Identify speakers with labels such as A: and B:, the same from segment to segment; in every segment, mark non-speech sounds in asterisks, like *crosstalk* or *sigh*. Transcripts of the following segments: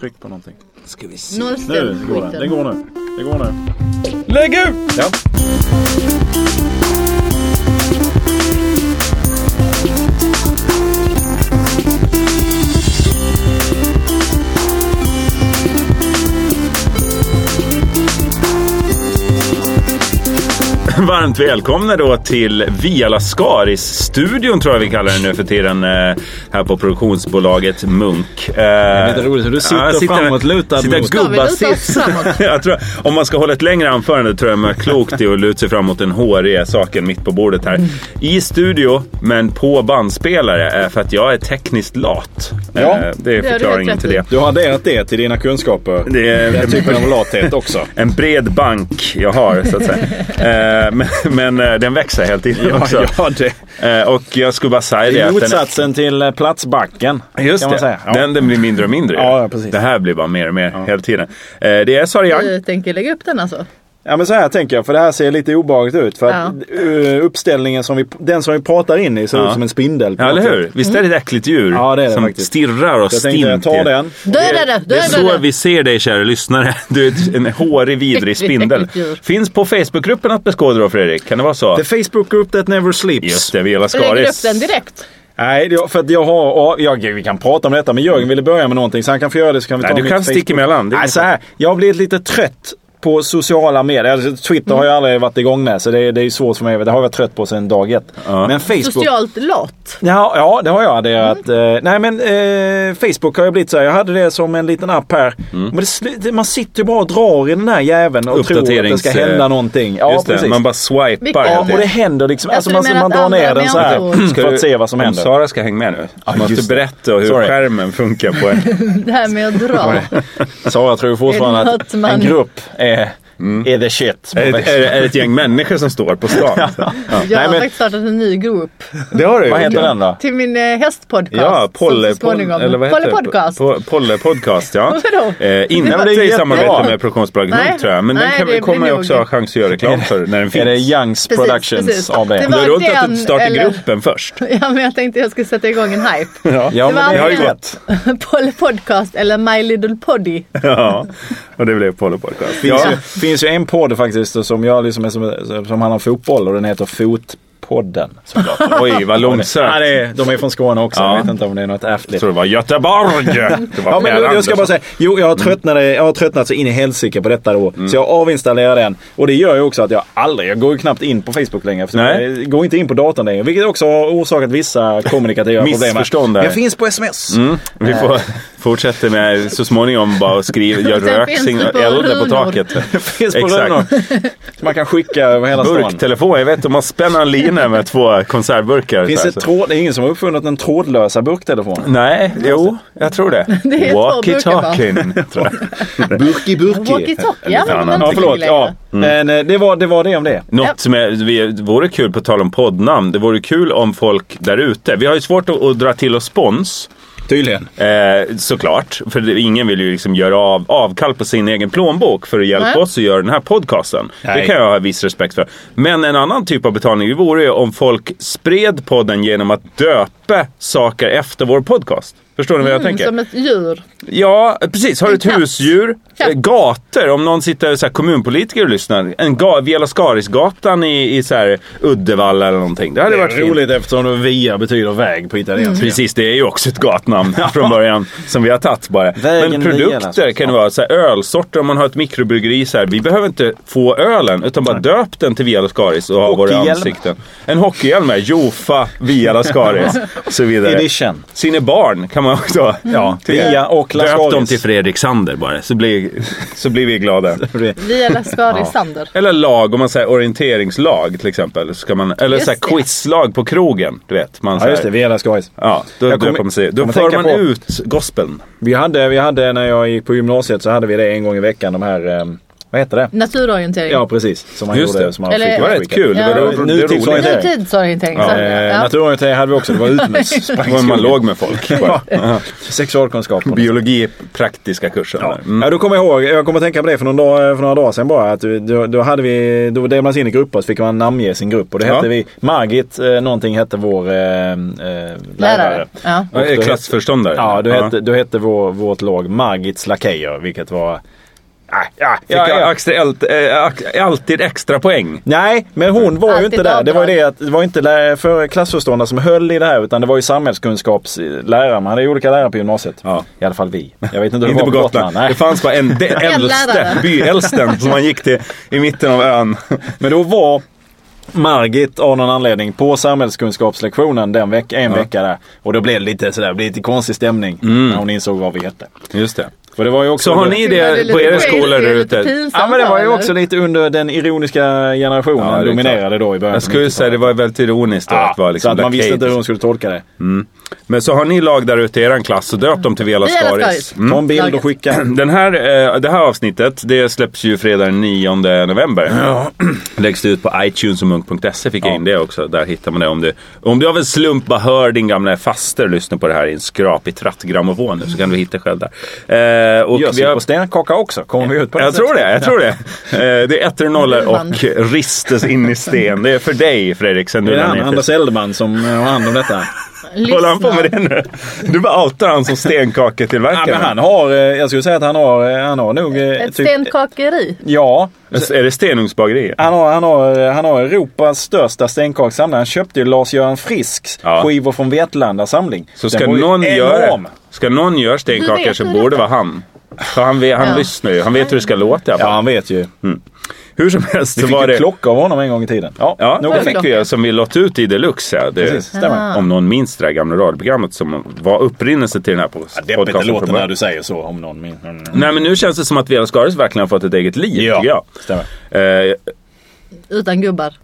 A: Tryck på någonting.
B: Ska vi se.
C: Nu
A: Nu går den. Den går nu. Den går nu.
B: Lägg ut!
A: Ja.
B: Varmt välkomna då till Via Lascaris-studion tror jag vi kallar den nu för tiden. eh, Här på produktionsbolaget Munk. Eh, Det
D: är lite roligt hur du sitter framåtlutad mot-
B: Sitter
D: Ska
C: Ska vi luta
B: gubbasits.
C: oss framåt?
B: *laughs* Jag tror, om man ska hålla ett längre anförande tror jag man är klokt i att luta sig fram mot den håriga saken mitt på bordet här. I studio, men på bandspelare, eh, för att jag är tekniskt lat. Eh,
A: Ja.
B: Det är
C: rätt
B: förklaringen till
C: i.
B: det.
A: Du har adderat det till dina kunskaper.
B: Det är
A: Den typen av lathet också.
B: *laughs* en bred bank jag har, så att säga. Eh, Men, men eh, den växer helt tiden också.
A: ja det.
B: Eh, Och jag skulle bara säga
D: Det
B: det.
D: är
B: att den-
D: motsatsen till eh, platsbacken.
B: Just
D: kan
B: det.
D: man säga. Ja.
B: Den, den blir mindre och mindre.
D: Ja, ja, precis.
B: Det här blir bara mer och mer hela tiden. Eh, Det är Sara Young.
C: Vi tänker lägga upp den alltså.
D: Ja men så här tänker jag, för det här ser lite obehagligt ut. För att
C: Ja.
D: eh, uppställningen som vi, den som vi pratar in i ser
B: Ja.
D: ut som en spindel. på
B: Ja, eller
D: något
B: hur?
D: sätt.
B: Visst är det ett äckligt djur
D: Ja, det är det
B: som
D: faktiskt.
B: stirrar och
D: Jag tänkte jag tar den.
C: Döda det!
B: Det är
C: Döda
B: så
C: det!
B: vi ser dig kära lyssnare. *laughs* Du är ett- en hårig
C: *laughs*
B: vidrig spindel.
C: Äckligt djur.
B: Finns på Facebookgruppen att beskåda då Fredrik? Kan det vara så?
D: The Facebook group that never sleeps.
B: Just det, Viola Skaris.
C: Lägger upp den direkt.
D: Nej, det- för att jag har... ja, Jag, vi kan prata om detta, men Jörgen ville börja med någonting så han kan få göra det så kan vi
B: Nej,
D: ta
B: du
D: mitt
B: kan
D: Facebook.
B: sticka emellan. Det är
D: Nej,
B: inget
D: så här. Jag har blivit lite trött på sociala medier. Alltså, Twitter har jag aldrig varit igång med så det, det är svårt för mig. Det har jag varit trött på sedan dag ett. Men Facebook...
C: Socialt lat.
D: Ja, ja, det har jag adderat. Eh, nej men eh, Facebook har ju blivit så här. Jag hade det som en liten app här. Men det, sl- det- man sitter ju bara och drar i den här jäveln och tror att det ska
B: Uppdaterings-
D: hända någonting. Ja,
B: Just det,
D: precis.
B: man bara swipar.
C: Vilken-
D: Ja,
B: helt
D: och det händer liksom. Alltså,
C: du
D: man,
C: menar
D: man
C: att
D: drar ner
C: andra
D: den så här
C: människor-
B: Ska
D: för
B: du-
D: att se vad som
B: Om
D: händer.
B: Sara ska hänga med nu. Ah, måste
D: just det.
B: berätta hur
D: Sorry.
B: skärmen funkar
D: *laughs*
B: på en.
C: Det här med att dra.
D: Sara tror ju
C: Är det
D: fortfarande
C: något
D: att
C: man-
D: en grupp är, Mm. är the shit.
B: är, det, är, det, är det ett gäng människor som står på stan?
C: Jag
D: Nej,
C: har
D: men-
C: faktiskt startat en ny grupp
B: Det har du
D: Vad heter den då?
C: till min eh, hästpodcast.
B: Ja, Polle,
C: som så småningom-
B: eller vad heter
C: Polle
B: det?
C: Podcast.
B: Po- Polle Podcast, ja.
C: *laughs* Vadå?
B: Eh,
D: Nej, men
B: inte
D: det är
B: i samarbete
D: jättebra.
B: med produktionsbolaget
C: Nej.
B: Nord tror jag. Men
C: Nej,
B: den kan,
C: det
B: vi- kommer
C: blir
B: jag
C: nog-
B: också ha chans att göra reklam för när den
D: Är
B: finns.
D: det Youngs
C: Precis,
D: Productions
C: precis.
D: av det?
C: Det
B: Det
C: var
B: är roligt att du
C: den,
B: startar
C: eller-
B: gruppen först.
C: *laughs* Ja, men jag tänkte jag skulle sätta igång en hype.
B: *laughs*
D: Ja,
C: Det var
D: men det har ju
C: antingen-
D: rätt.
C: *laughs* Polle Podcast eller My Little Poddy.
B: Ja, och det blev Polle Podcast.
D: finns,
B: Ja.
D: ju, finns ju en podd faktiskt som, jag liksom är som, som handlar om fotboll och den heter Fotpodden. Såklart.
B: Oj,
D: Ja,
B: vad långsökt.
D: det är, de är från Skåne också.
B: Ja.
D: Jag vet inte om det är något
B: Jag
D: ärftligt.
B: tror det var Göteborg. Det var
D: *laughs* Ja, men jag, jag
B: Per
D: ska
B: Andersson.
D: bara säga, jo, jag har,
B: Mm.
D: tröttnat, jag har tröttnat så in i helsike på detta då. Så jag avinstallerar den. Och det gör ju också att jag aldrig, jag går ju knappt in på Facebook längre. eftersom
B: Nej.
D: Jag går inte in på datorn längre. Vilket också har orsakat vissa kommunikativa problem.
B: Missförstånd där. Mm.
D: Jag finns på sms. *laughs*
B: Vi får fortsätta med så småningom bara att skriva,
C: *laughs*
B: göra
C: Sen
B: rök,
C: finns det
B: signa-
C: på
B: elda på
C: runor.
B: taket.
D: Finns på Runor. Så man kan skicka över hela stan.
B: Burktelefon, jag vet om man spänner en lina med två konservburkar.
D: Finns
B: så här,
D: det,
B: så.
D: tråd, det är ingen som har uppfunnit den trådlösa burktelefonen.
B: Nej, jo, jag tror det.
C: *laughs* Det är två *laughs*
B: Walkie-talkien, tror jag.
D: Burki burki.
C: Walkie-talkie. Ja, men de är
B: annan.
C: inte
D: Ja,
C: så
D: förlåt.
C: längre.
D: Ja.
B: Mm.
D: Men eh, det var, det var det om det.
B: Något som är, vi- det vore kul, på tal om poddnamn, det vore kul om folk där ute, vi har ju svårt att, att dra till oss spons.
D: Tydligen.
B: Eh, såklart, för det- ingen vill ju liksom göra av, avkall på sin egen plånbok för att hjälpa
C: Nej.
B: oss att göra den här podcasten. Det
D: Nej.
B: kan jag ha viss respekt för. Men en annan typ av betalning det vore ju om folk spred podden genom att döpa saker efter vår podcast. Förstår ni vad jag
C: Mm,
B: tänker?
C: Som ett djur.
B: Ja, precis. Har du
C: En
B: ett
C: katt.
B: husdjur?
C: Katt.
B: Eh, Gator, om någon sitter så här, kommunpolitiker och lyssnar. En ga- Viola Skarisgatan i, i så här, Uddevalla eller någonting. Det hade
D: Det
B: varit
D: är
B: fint. Mm.
D: roligt eftersom via betyder väg på italienska.
B: Precis, det är ju också
D: *laughs*
B: ett gatnamn från början som vi har tagit bara.
D: Vägen
B: Men
D: via, alltså.
B: produkter kan det vara så här, ölsorter om man har ett mikrobryggeri. Så här, vi behöver inte få ölen utan bara döp den till Via Lascaris och ha våra
D: Hockeyhjälm.
B: ansikten. En hockeyhjälm med Jofa,
D: *laughs*
B: Via Lascaris och så vidare.
D: Edition.
B: Sina barn kan man också ja,
D: Via och
B: Döp dem
D: Lascaris.
B: till Fredrik Sander bara så blir, så blir vi glada.
C: Via Lascaris Sander.
B: *laughs* Eller lag, om man säger orienteringslag till exempel. så Ska man, eller
C: Just
B: så här,
C: det.
B: quizlag på krogen. Du vet, man,
D: Ja
B: så här,
D: just det, Vela Skojs.
B: Ja, då,
D: Jag kommer-
B: då, kommer, sig, då
D: kommer
B: för
D: tänka
B: man
D: på-
B: ut gospeln.
D: Vi hade, vi hade, när jag gick på gymnasiet så hade vi det en gång i veckan, de här eh,
E: Vad heter det?
C: Naturorientering.
E: Ja, precis. Som han
B: Just
E: gjorde.
B: det.
E: Som han
C: Eller-
E: fick
B: Det var rätt
E: skicka.
B: kul.
C: Ja.
B: Det var, ro- det är roligt.
E: Nutidsorientering.
C: Nutidsorientering.
E: Ja.
C: exakt.
E: Eh,
C: Ja.
E: Naturorientering hade vi också. Det
C: *laughs*
E: var utomhus. Sprang
B: Det var
E: i
B: när man
E: skogen.
B: låg med folk. Bara. *laughs*
E: Sexualkunskap.
B: Biologi, praktiska kursen.
E: Ja.
B: där. Mm.
E: Ja, då kommer jag ihåg, jag kommer att tänka på det för, någon dag, eh, för några dagar sedan bara. Att du- då, då, hade vi, då delade man sig in i grupper så fick man namnge sin grupp. Och det
B: Ja.
E: hette vi, Margit eh, någonting hette vår eh, eh, *laughs* lärare.
C: Lärare. Ja.
B: Ja, är Klassförståndare.
E: Ja, då hette, då hette vår, vårt lag Margits Lakejer vilket var... Ah, ja,
B: Fick
E: ja,
B: jag extra, alt- eh, ax- alltid extra poäng.
E: Nej, men hon var ju
C: Alltid
E: inte där. Det var ju
C: avdrag.
E: det att det var inte lä- för klassföreståndare som höll i det här utan det var ju samhällskunskapslärare. Man hade ju olika lärare på gymnasiet.
B: Ja.
E: I alla fall vi. Jag vet inte hur det
B: Inte
E: var
B: på Gotland.
E: Nej.
B: Det fanns bara en, de, äldste,
C: lärare.
B: byäldsten som man gick till i mitten av ön. *laughs*
E: Men då var Margit av någon anledning på samhällskunskapslektionen den veck- en
B: Ja.
E: vecka där. Och då blev det lite sådär, det blev lite konstig stämning när hon insåg vad vi hette.
B: Just det.
E: För det var ju också
B: Så har ni
C: Det är
B: det
C: lite
B: på era
C: crazy,
B: skolor där
C: lite
B: ute?
C: pinsamt
E: Ja men det var ju
C: då,
E: också
C: eller?
E: lite under den ironiska generationen
B: Ja, det är
E: dominerade då i början.
B: Jag skulle ju säga det var väldigt ironiskt då, att
E: ja,
B: vara liksom
E: Så att man visste
B: Black
E: inte hur
B: Hades.
E: hon skulle tolka det.
B: Men så har ni lag där ute i er klass och döpt dem till Vela
C: Vela
B: Skaris.
C: Skaris.
B: Mm.
E: Ta en bild och
C: Laget.
E: skicka.
B: Den här, eh, det här avsnittet det släpps ju fredag den 9 november. Läggs det ut på iTunes och munk.se fick jag in det också. Där hittar man det om du, om du av en slump bara hör din gamla faster lyssna på det här i en skrapig trattgrammofon nu så kan du hitta själv där. Eh, och
E: Görs
B: vi
E: vi
B: har,
E: på stenkaka också? Kommer vi ut på det
B: jag
E: sättet?
B: tror det, jag tror det. Eh, det är ettor och nollor
C: Band.
B: och ristes in i sten. Det är för dig Fredrik sen
E: Det
B: du
E: är
B: la
E: han,
B: ner
E: Anders
B: till-
E: Eldman som eh, har hand om detta.
B: Håller han på med det nu? Du bara outar han som
E: ja,
B: stenkaketillverkare.
E: men han har, eh, jag skulle säga att han har, eh, han har nog... eh,
C: Ett
E: typ-
C: stenkakeri.
E: Ja,
B: Alltså, Är det Stenungsbageriet?
E: Han har, han, har, eh, han har Europas största stenkakssamling. Han köpte ju Lars-Göran Frisks
B: Ja.
E: skivor från Vetlanda samling.
B: Så ska
E: Den var ju
B: någon, göra,
E: enorm.
B: ska någon göra
C: Du
B: stenkakor
C: vet
B: så
C: hur det
B: borde det
C: låter.
B: vara han. För han, vet, han
C: Ja.
B: lyssnar ju. Han vet hur det ska låta. i alla
E: Ja,
B: fall.
E: han vet ju.
B: Hur som helst
E: Vi
B: Mm. så
E: fick
B: var
E: ju
B: det...
E: klocka av honom en gång i tiden. Ja,
B: Ja,
E: nog
B: det
E: om det.
B: fick vi ju, som vi låt ut i Deluxe. Ja, det,
E: Precis, stämmer.
C: Ah.
B: Om någon minns det där gamla radioprogrammet som var upprinnelsen till den här pos-
E: Ja, Deppigt det
B: podcasten. från
E: låter när
B: början.
E: du säger så om någon min. Mm.
B: Nej, men nu känns det som att Vela Skaris verkligen har fått ett eget liv, tycker jag.
E: stämmer.
B: Eh,
C: Utan gubbar.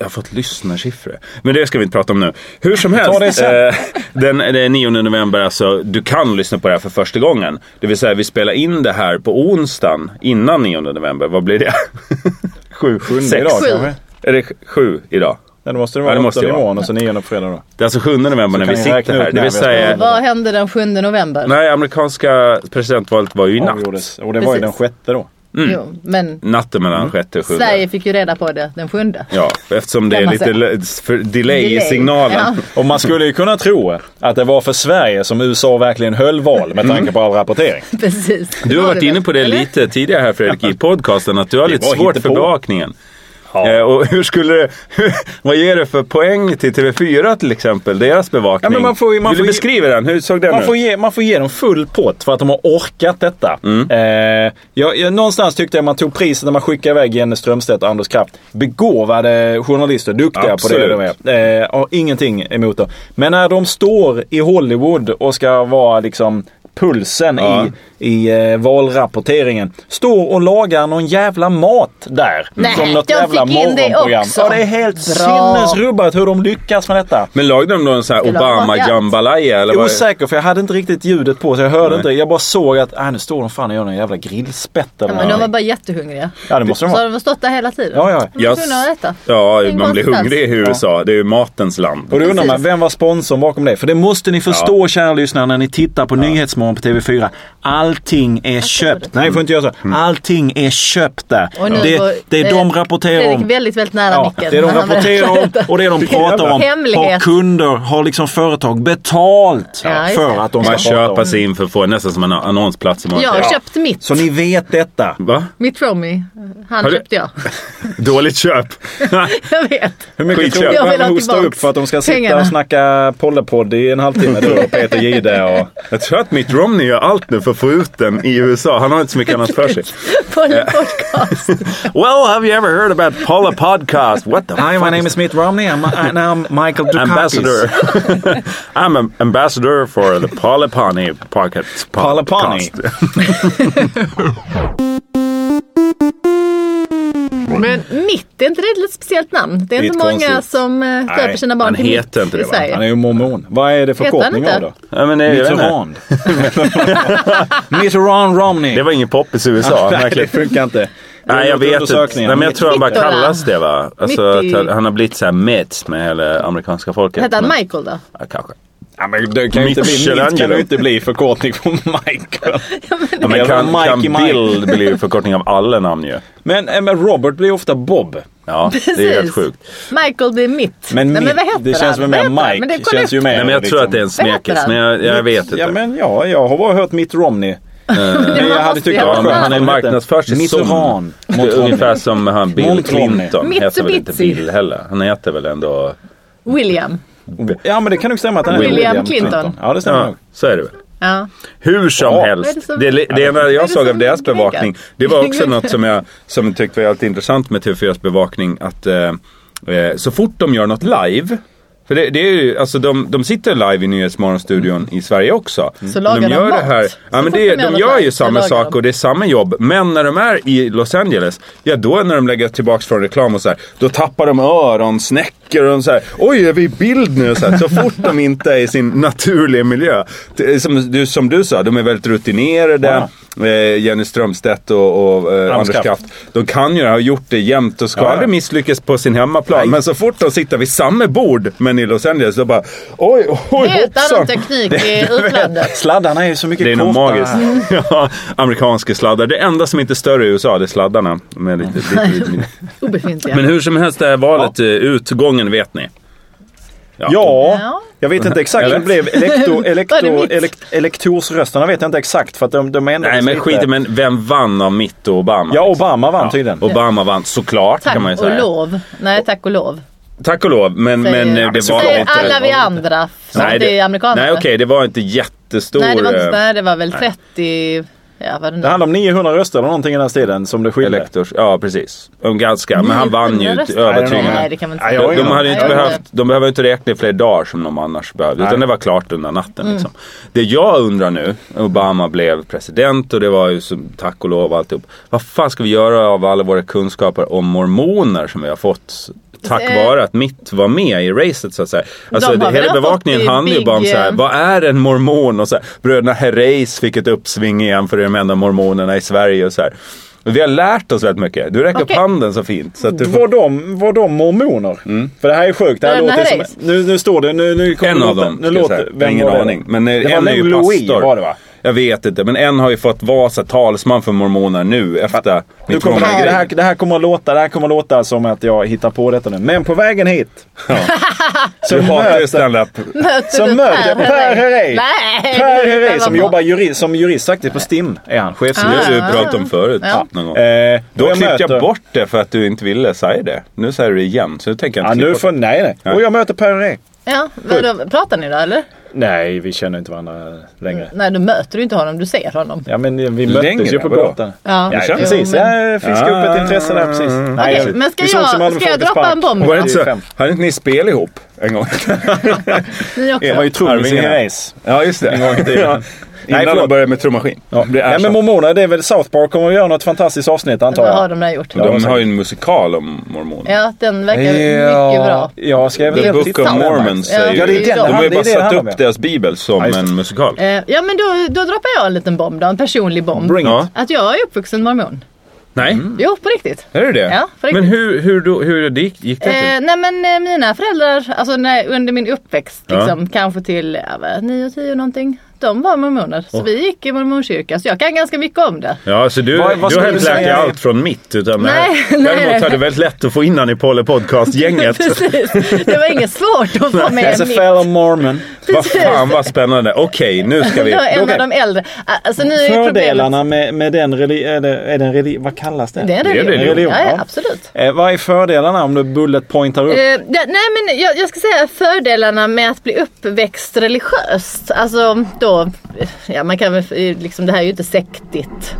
B: Jag har fått lyssnarsiffror. Men det ska vi inte prata om nu. Hur som helst.
E: det sen.
B: eh, Den, den 9 november, alltså, du kan lyssna på det här för första gången. Det vill säga, vi spelar in det här på onsdagen innan 9 november. Vad blir det?
E: *laughs* Sju, sjunde
B: Sex.
E: idag
C: Sju.
E: kanske?
B: Är det sju idag?
E: Ja, det måste det
B: Ja,
E: vara.
B: det
E: Ja,
B: måste
E: måste
B: det vara.
E: imorgon och så nionde på fredag då.
B: Det är alltså 7 november när
E: kan
B: vi
E: ni
B: sitter
E: räkna ut
B: här. Det
E: när
B: vill
E: vi har spelat
B: säga,
E: in.
C: Vad hände den 7 november?
B: nej, amerikanska presidentvalet var ju i natt.
E: Avgjordes. Och det var ju
C: Precis.
E: den sjätte då.
C: Jo, men
B: Natten
E: Mm.
B: mellan sjätte och sjunde.
C: Sverige fick ju reda på det den 7.
B: Ja, eftersom det
C: Kan
B: är
C: man
B: lite
C: säga.
B: le- för delay, i
C: Delay.
B: signalen.
C: Ja.
E: Och man skulle ju kunna tro att det var för Sverige som USA verkligen höll val med tanke på all rapportering.
C: *laughs* Precis.
B: Du har varit inne på det
C: Eller?
B: lite tidigare här Fredrik i podcasten, att du har
E: Det
B: lite
E: var
B: svårt för
E: hittepå.
B: bevakningen. Eh, och hur skulle det, vad ger det för poäng till TV4 till exempel, deras bevakning?
E: Ja, men man får ju- man
B: Vill
E: får
B: du
E: ju-
B: beskriva den? Hur såg den
E: Man
B: ut?
E: får, ge, man får ge dem full pott för att de har orkat detta.
B: Mm.
E: Eh, jag, jag, någonstans tyckte jag man tog priset när man skickade iväg Jenny Strömstedt och Anders Kraft. Begåvade journalister, duktiga på det
B: Absolut.
E: de är. Eh, har ingenting emot dem. Men när de står i Hollywood och ska vara liksom pulsen
B: Ja.
E: i, i eh, valrapporteringen. Står och lagar någon jävla mat där.
C: Nej, de fick in det också.
E: Ja, det är helt
C: Bra.
E: sinnesrubbat hur de lyckas med detta.
B: Men lagde de då en sån här
C: Skulle ha varit.
B: Obama-jambalaya? Eller
E: Jag är
B: vad?
E: osäker för jag hade inte riktigt ljudet på så jag hörde inte. Jag bara såg att ah, nu står de fan och gör någon jävla grillspett
C: Ja, men
E: eller
C: de
E: någonting.
C: var bara jättehungriga.
E: Ja det måste de
C: Så har
E: vara.
C: de stått där hela tiden.
E: Ja, ja.
C: De var
B: Jag-
C: tvungna att äta.
B: Ja,
C: Ingen
B: man blir
C: konsistens.
B: hungrig i USA. Det är ju matens land.
E: Och då undrar man,
C: Precis.
E: vem var sponsorn bakom det? För det måste ni förstå kära lyssnare när ni tittar på Nyhetsmorgon på TV4. Allting är köpt. Nej, får inte göra
B: Mm.
E: så. Allting är köpt där.
C: Och nu går- eh,
E: Det, det är de rapporterar
C: Fredrik
E: om.
C: väldigt, väldigt nära
E: Ja,
C: micken.
E: det de
C: när han
E: rapporterar
C: berättar
E: om
C: detta.
E: och det de pratar om har
C: Hemlighet.
E: kunder, har liksom företag betalt
C: Ja, just
E: för
C: det.
E: att de ska
B: Man
E: prata om.
B: köper sig in för att få nästan som en annonsplats. som man-
C: Jag har
B: Ja.
C: köpt mitt.
E: Så ni vet detta.
B: Va?
C: Mitt Romy. Han
B: Har du-
C: köpte jag. *laughs*
B: Dåligt köp. *laughs*
C: jag vet.
E: Hur mycket
B: Skitköp.
E: tror du
C: Jag vill
E: han
C: ha
E: hostar
C: tillbaks
E: upp för att de ska sitta
C: pengarna.
E: och snacka pollepodd i en halvtimme? Du och Peter Jihde och...
B: Jag tror att Mitt Romney gör allt nu för att få ut den i USA. Han har inte så mycket annat för sig.
C: På en podcast.
B: Well, have you ever heard about Paula Podcast?
E: *laughs*
B: What the
E: Hi, my name is Mitt Romney I'm, and I'm Michael Dukakis.
B: ambassador. *laughs* I'm an ambassador for the Polipani Pocket
E: Polipani.
B: Podcast.
C: Men mitt, är inte det ett lite speciellt namn? Det är
E: Det är
C: inte
E: ett
C: många
E: konstigt-
C: som eh, döper sina barn
B: han
C: till
B: heter
C: mitt
B: inte det,
C: i
B: va?
E: Han
C: Sverige.
E: är ju mormon. Vad är det förkortning
C: Heter han
E: av då?
C: inte?
B: Ja, men det, är- jag vet inte.
E: Mitterrand. Mitterrand Romney.
B: det var ingen poppis i USA.
E: Nej, det
B: verkligen.
E: funkar inte.
B: Nej, jag
E: gjort
B: vet inte. Nej,
E: undersökningen.
B: men jag tror han bara
C: Mitt-Ola.
B: kallas det va? Alltså,
C: Mitt i-
B: att han- han har blivit så här mitt med hela amerikanska folket.
C: Hette han
B: Men-
C: Michael då?
B: Ja, kanske.
E: Ja, men det kan ju inte bli,
B: Michelangelo.
E: mitt kan ju inte bli förkortning på Michael.
B: *laughs* Ja, men
E: Jävla
B: kan, kan
E: Mikey Mike.
B: Bill blir ju förkortning av alla namn ju.
E: Men, eh, men Robert blir ju ofta Bob.
B: Ja,
C: Precis.
B: det är helt sjukt.
C: Michael blir mitt.
E: Men,
C: Nej, men vad heter
E: det känns väl
C: han?
E: mer
C: Vad heter han?
E: Mike.
C: Men det kolla
E: känns ju
C: upp.
E: mer
B: Nej, men jag
E: liksom-
B: tror att det är en
C: Vad heter
B: smekis.
C: han?
B: Men jag, jag vet inte.
E: Ja, men ja, jag har bara hört Mitt Romney.
C: Det
E: jag hade
C: måste
E: tyckt
C: ju
E: det var
C: vara
B: Ja, men
E: skönt.
B: Eh, han är
E: Vad heter den?
B: marknadsför sig som...
E: Mitterrand.
B: Det är Ungefär som han Bill
E: Montrone.
B: Clinton heter väl inte
C: Mitsubishi.
B: Bill heller. Han heter väl ändå...
C: William.
E: Ja, men det kan nog stämma att han är
B: William
C: Clinton.
E: Ja, det stämmer
B: Ja,
E: nog.
B: så är det väl.
C: Ja.
B: Hur som
E: Ja.
C: Vad är det
B: helst.
C: som-
B: Det, det, ena
C: är det
B: jag såg
C: som
B: av deras
C: ligger?
B: bevakning. Det var
C: *laughs*
B: också något som jag som tyckte var alltid intressant med TV4s bevakning. Att eh, eh, så fort de gör något live. För det, det är ju, alltså de, de sitter live i Nyhetsmorgonstudion i Sverige också. Men
C: lagar de
B: gör
C: mat.
B: Det här,
C: Mm. Så
B: ja, men
C: fort
B: det,
C: de gör
B: de
C: något
B: gör ju
C: live, så
B: samma
C: lagar
B: sak
C: de.
B: och det är samma jobb. Men när de är i Los Angeles, ja då när de lägger tillbaks från reklam och så här. Då tappar de öronsnäckor och de så här. Oj, är vi i bild nu? Så, här, så fort de inte är i sin naturliga miljö. Det är Som du, som du sa, de är väldigt rutinerade. Eh, Jenny Strömstedt och, och eh, Anders
E: Kraft.
B: Kraft. De kan ju ha gjort det jämt och ska
E: Ja, ja.
B: aldrig misslyckas på sin hemmaplan. Men så fort de sitter vid samma bord, men i Los Angeles, då bara oj, oj,
C: Utan
B: hoppsan.
C: någon teknik i
B: *laughs*
C: utlandet.
E: Sladdarna är ju så mycket
B: Det är nog
E: kortare.
B: magiskt. *laughs* ja, amerikanska sladdar. Det enda som inte är större i USA, det är sladdarna. Med lite, lite, lite, mindre.
C: Obefintliga.
B: Men hur som helst är valet, eh, utgången vet ni.
E: Ja,
C: Ja.
E: jag vet inte exakt
B: Eller?
E: hur det blev.
C: *laughs*
E: Elektor,
C: Var det
E: elektor,
C: mitt?
E: elekt, elektorsrösterna vet jag inte exakt för att de, de ändrades
B: Nej men
E: lite.
B: skit i- men vem vann av mitt och Obama?
E: Ja,
B: liksom?
E: Obama vann tydligen.
B: Obama vann såklart
C: Tack
B: kan man ju
C: och
B: säga.
C: lov. Nej, tack och lov.
B: Tack och lov. Men,
C: Säger,
B: men eh, det var
C: säger
B: inte...
C: alla vi andra som
B: Nej,
C: inte är
B: det,
C: amerikaner.
B: nej okej, det var inte jättestor...
C: nej, det var inte,
B: eh,
C: nej, det var väl 30... Ja, vad det nu
E: Det handlar om 900 röster eller någonting i den stilen som det skilde.
B: Elektors, ja precis. Um, ganska, men han vann ju inte
C: röster. Nej,
B: övertygande.
C: det kan man
E: Nej,
C: inte
E: jag har
B: De, de,
E: ingen
B: hade ju inte
C: Nej, jag
B: behövt, de behöver inte räkna i fler dagar som de annars behövde. Utan
E: Nej.
B: det var klart under natten. Liksom. Det jag undrar nu, Obama blev president och det var ju som, tack och lov alltihop. Vad fan ska vi göra av alla våra kunskaper om mormoner som vi har fått? Tack
C: Eh.
B: vare att mitt var med i racet så att säga. Alltså,
C: De har
B: hela
C: väl
B: bevakningen
C: fått i
B: handlar ju bara om
C: Big,
B: så här,
C: eh,
B: vad är en mormon? Och så här, bröderna Herreys fick ett uppsving igen för det är de enda mormonerna i Sverige. Och så här. Vi har lärt oss väldigt mycket. Du räcker
C: Okej.
B: upp handen så fint. Så att du får...
E: Var de, var de mormoner? För det här är sjukt. Det här
C: Den
E: låter
C: här
E: som,
C: är-
E: nu, nu står det... Nu, nu kommer
B: Mm. En av
E: låten.
B: dem,
E: Nu
B: ska jag säga.
E: låter,
B: Jag har
E: vem
B: ingen
E: var det?
B: aning. Men eh,
E: det
B: en
E: var
B: är ju
E: Louis
B: pastor.
E: var det va?
B: Jag vet inte, men en har ju fått vara så här talsman för mormoner nu efter
E: Nu
B: mitt
E: kommer det, här, det,
B: mormongrej.
E: här, det här kommer att låta, det här kommer att låta som att jag hittar på detta nu. Men på vägen hit. *laughs* så
B: Du hatar ju
E: möter,
B: standup.
C: Möter
E: så
C: du
E: möter jag Per Herrey.
C: Nej!
E: Per
C: det
E: Herrey
C: var
E: som
C: bra.
E: jobbar juri, som jurist faktiskt på STIM. Är han
B: Det
E: chefsjurist.
B: har du pratat om förut
C: Ja.
B: någon gång.
E: Eh,
B: Då
E: och jag
B: klippte
E: möter-
B: jag bort det för att du inte ville säga det. Nu säger du det igen, så nu tänker jag
E: Ja,
B: inte
E: nu
B: klippa
E: får, nej, nej.
B: Nej.
E: Och jag möter Per Herrey.
C: Ja, vadå, pratar ni då eller?
E: Nej, vi känner inte varandra längre.
C: Nej, du möter du inte honom, du ser honom.
E: Ja, men vi möttes
B: Längre,
E: ju på
B: vadå?
E: gatan.
C: Ja,
E: Ja,
C: jo,
E: precis.
C: men-
E: Jag fiskade upp ett intresse där precis.
B: Mm.
C: Okej,
E: jag-
C: men ska
E: vi sågs i
C: jag,
E: Malmö
C: ska jag
E: Folkets
C: doppa
E: Park.
C: en bomb?
B: Var det
C: då?
B: inte så? Hade inte ni spel ihop en gång?
C: Ni
E: Jag
C: också?
E: var ju trummis i
B: Arvingarna.
E: Herreys.
B: Ja, just det. En gång i tiden. Innan
E: Nej, förlåt.
B: de började med trummaskin.
E: Ja.
B: Blev
E: Nej, men
B: ersatt.
E: mormoner, det är väl South Park kommer att göra något fantastiskt avsnitt antar
C: Vad har
E: jag.
C: de där gjort?
B: de har ju en musikal om mormoner.
C: Ja, den verkar
B: Ja.
C: mycket bra.
E: Jag skrev
B: The
E: väl
B: Book of Mormon
C: Ja,
B: säger
C: det är
B: ju-
C: den-
B: De har ju
E: det är
B: bara
E: det det
B: satt
E: handlar om,
B: upp
E: ja.
B: deras bibel som
E: Ja, just det.
B: en musikal.
C: Eh, Ja, men då, då droppar jag en liten bomb då, en personlig bomb.
E: Bring
B: Ja.
E: it.
C: Att jag är uppvuxen mormon.
B: Nej,
E: Mm.
C: Jo, på riktigt.
B: är det det?
C: Ja, för
B: men hur, hur, då, hur det gick, gick det
C: Eh,
B: till?
C: nej men eh, mina föräldrar, alltså när, under min uppväxt,
B: Ja.
C: liksom, kanske till ja, vad, 9 10 någonting. De var mormoner. Så vi gick i mormonkyrka. Så jag kan ganska mycket om det. *laughs*
B: Ja, så du,
E: Vad- vad
B: du har
E: skulle
B: inte
E: du
B: lärt dig
E: säga?
B: allt från mitt. Utan det
C: Nej,
B: här,
C: nej.
B: Däremot hade det väldigt lätt att få in han i Polly Podcast-gänget.
C: *laughs* Precis. Det var inget svårt att få med
B: alltså,
E: As a
C: mitt.
E: fellow mormon.
B: vad fan vad spännande. Okej, nu ska
C: *laughs* Det
B: vi...
C: var en
E: Okej.
C: av de äldre. Alltså nu är ju problemet.
E: Fördelarna med, med den religion, är det en religion, vad kallas det?
C: Det är en
B: Det är
C: religion.
E: religion,
C: ja, ja,
E: ja.
C: absolut.
E: Eh, vad är fördelarna om du bullet pointar upp?
C: Eh, det, nej men jag, jag ska säga fördelarna med att bli uppväxt religiöst. Alltså då, ja man kan väl, liksom det här är ju inte sektigt.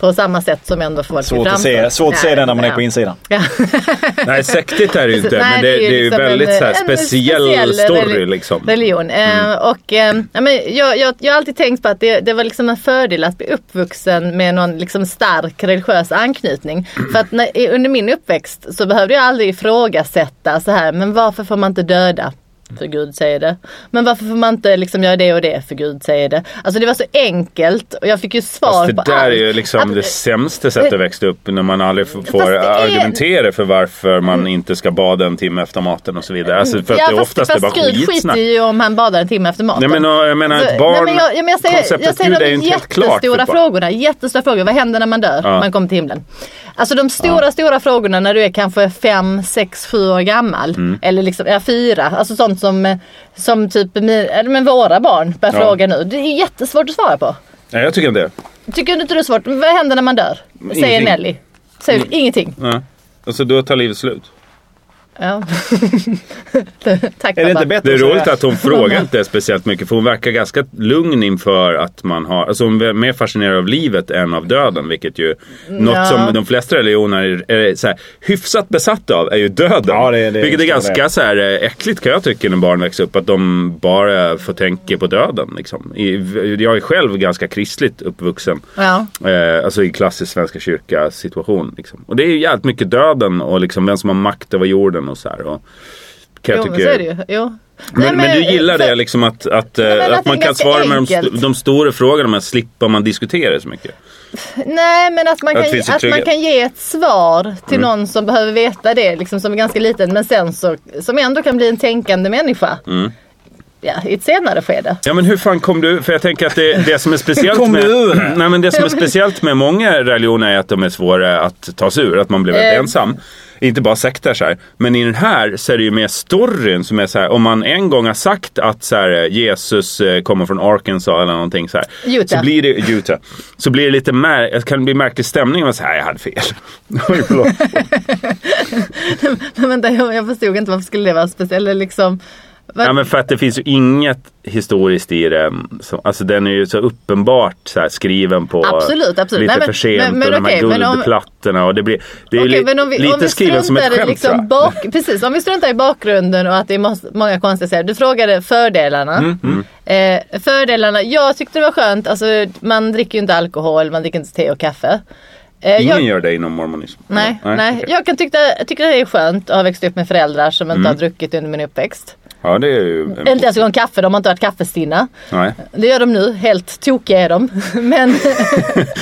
C: På samma sätt som ändå folk
E: svårt att se, svårt att se den när man är på insidan.
B: Nej, sektigt är det ju inte. men det, det är ju
C: liksom
B: väldigt
C: en-
B: så här,
C: en
B: speciell, story
C: reli-
B: liksom.
C: Religion. Eh, och, eh, ja, men jag, jag, jag har alltid tänkt på att det, det var liksom en fördel att bli uppvuxen med någon liksom stark religiös anknytning. För att när, i- under min uppväxt så behövde jag aldrig ifrågasätta så här, men varför får man inte döda? För Gud säger det. Men varför får man inte liksom göra det och det? För Gud säger det. Alltså det var så enkelt och jag fick ju svar
B: Fast det
C: på
B: där
C: allt.
B: är ju liksom
C: Att-
B: det sämsta sättet att växa upp när man aldrig f- får
C: det är- Mm.
B: argumentera för varför man inte ska bada en timme efter maten och så vidare. Alltså för att det oftast är bara
C: Gud skiter
B: skitsnack.
C: ju om han badar en timme efter maten.
B: Nej men och, jag menar
C: Så-
B: ett barn,
C: Alltså, nej, men jag, ja, men jag säger,
B: konceptet
C: jag säger
B: Gud
C: de
B: är ju inte helt klart för
C: jättestora
B: ett barn.
C: frågorna. Jättestora frågor. Vad händer när man dör?
B: Ja.
C: Man kommer till himlen. Alltså de stora, stora frågorna när du är kanske 5, 6, 7 år gammal.
B: Mm.
C: Eller liksom, ja, 4. Alltså sånt som, eh, som typ min, eller, men våra barn börjar
B: Ja.
C: fråga nu. Det är jättesvårt att svara på.
B: Nej jag tycker inte det.
C: Tycker du inte det är svårt? Vad händer när man dör? Säger
B: Ingenting. Mm.
C: Nelly. Säger ingenting.
B: Nej. Alltså då tar livet slut. *laughs*
C: Ja. Tack
E: Är det
C: pappa.
E: inte bättre
B: Det är
E: att säga-
B: roligt att hon frågar
C: *laughs*
B: inte speciellt mycket för hon verkar ganska lugn inför att man har, alltså hon är mer fascinerad av livet än av döden vilket ju,
C: Ja.
B: något som de flesta religioner är, är så här, hyfsat besatta av är ju döden.
E: Ja, det är- det är-
B: vilket är
E: det är
B: ganska så här, eh, äckligt kan jag tycka när barn växer upp att de bara får tänka på döden. Liksom. I- Jag är själv ganska kristligt uppvuxen.
C: Ja.
B: Eh, alltså i klassisk svenska kyrka situation. Liksom. Och det är ju jävligt mycket döden och liksom vem som har makt över jorden och så här. Och, kan
C: Jo,
B: jag
C: men
B: tycka-
C: så är det ju. Jo.
B: men,
C: Nej,
B: men, du gillar det liksom att, att, eh,
C: men att
B: att,
C: det är
B: man kan
C: ganska
B: svara med de,
C: enkelt.
B: st- de stora frågorna men slippa man diskutera så mycket.
C: Nej men att man
B: Att
C: kan,
B: det finns Mm. en
C: att man
B: trygghet.
C: kan ge ett svar till någon som behöver veta det liksom, som är ganska liten men sen så, som ändå kan bli en tänkande människa.
B: Mm.
C: Ja, i ett senare skede. *laughs*
B: Ja men hur fan kom du, för jag tänker att det, det som är speciellt
E: kom
B: med
E: du ur det?
B: *clears throat* Nej men det som är speciellt med många religioner är att de är svåra att ta sig ur, att man blir väldigt
C: Eh.
B: ensam. Inte bara sekter så här. Men i den här så är det ju mer storyn som är så här, om man en gång har sagt att så här, Jesus eh, kommer från Arkansas eller någonting så här.
C: Utah.
B: Så blir det, Utah. Så blir det lite mär, kan det bli märklig stämning, man säger jag hade fel. *laughs* Oj, förlåt.
C: Men vänta, jag, jag förstod inte varför skulle det vara speciellt. Eller liksom, vad-
B: Ja, men för att det finns ju inget historiskt i den. Som, alltså den är ju så uppenbart så här, skriven på
C: Absolut, absolut.
B: lite
C: Nej, men-
B: för sent
C: men- men
B: och
C: okej,
B: de
C: men
B: här
C: om-
B: guldplattorna. Och det, blir, det är ju
C: Okej,
B: li-
C: men om vi,
B: lite
C: om vi
B: skriven som ett
C: struntar i
B: skämt tror
C: liksom
B: jag. *laughs*
C: bak, Precis, om vi struntar i bakgrunden och att det är mås- många konstiga saker. Du frågade fördelarna.
B: Mm,
C: Eh, fördelarna, jag tyckte det var skönt. Alltså, man dricker ju inte alkohol, man dricker inte te och kaffe. Eh,
B: Ingen
C: jag,
B: gör det inom mormonism.
C: Nej, nej.
B: okej. Mm.
C: jag kan tycka, jag tycker det är skönt att ha växt upp med föräldrar som inte har druckit under min uppväxt.
B: Ja, det är ju...
C: Inte ens en gång kaffe, de har inte varit kaffestinna.
B: Nej.
C: Det gör de nu, helt tokiga är de. *laughs* Men,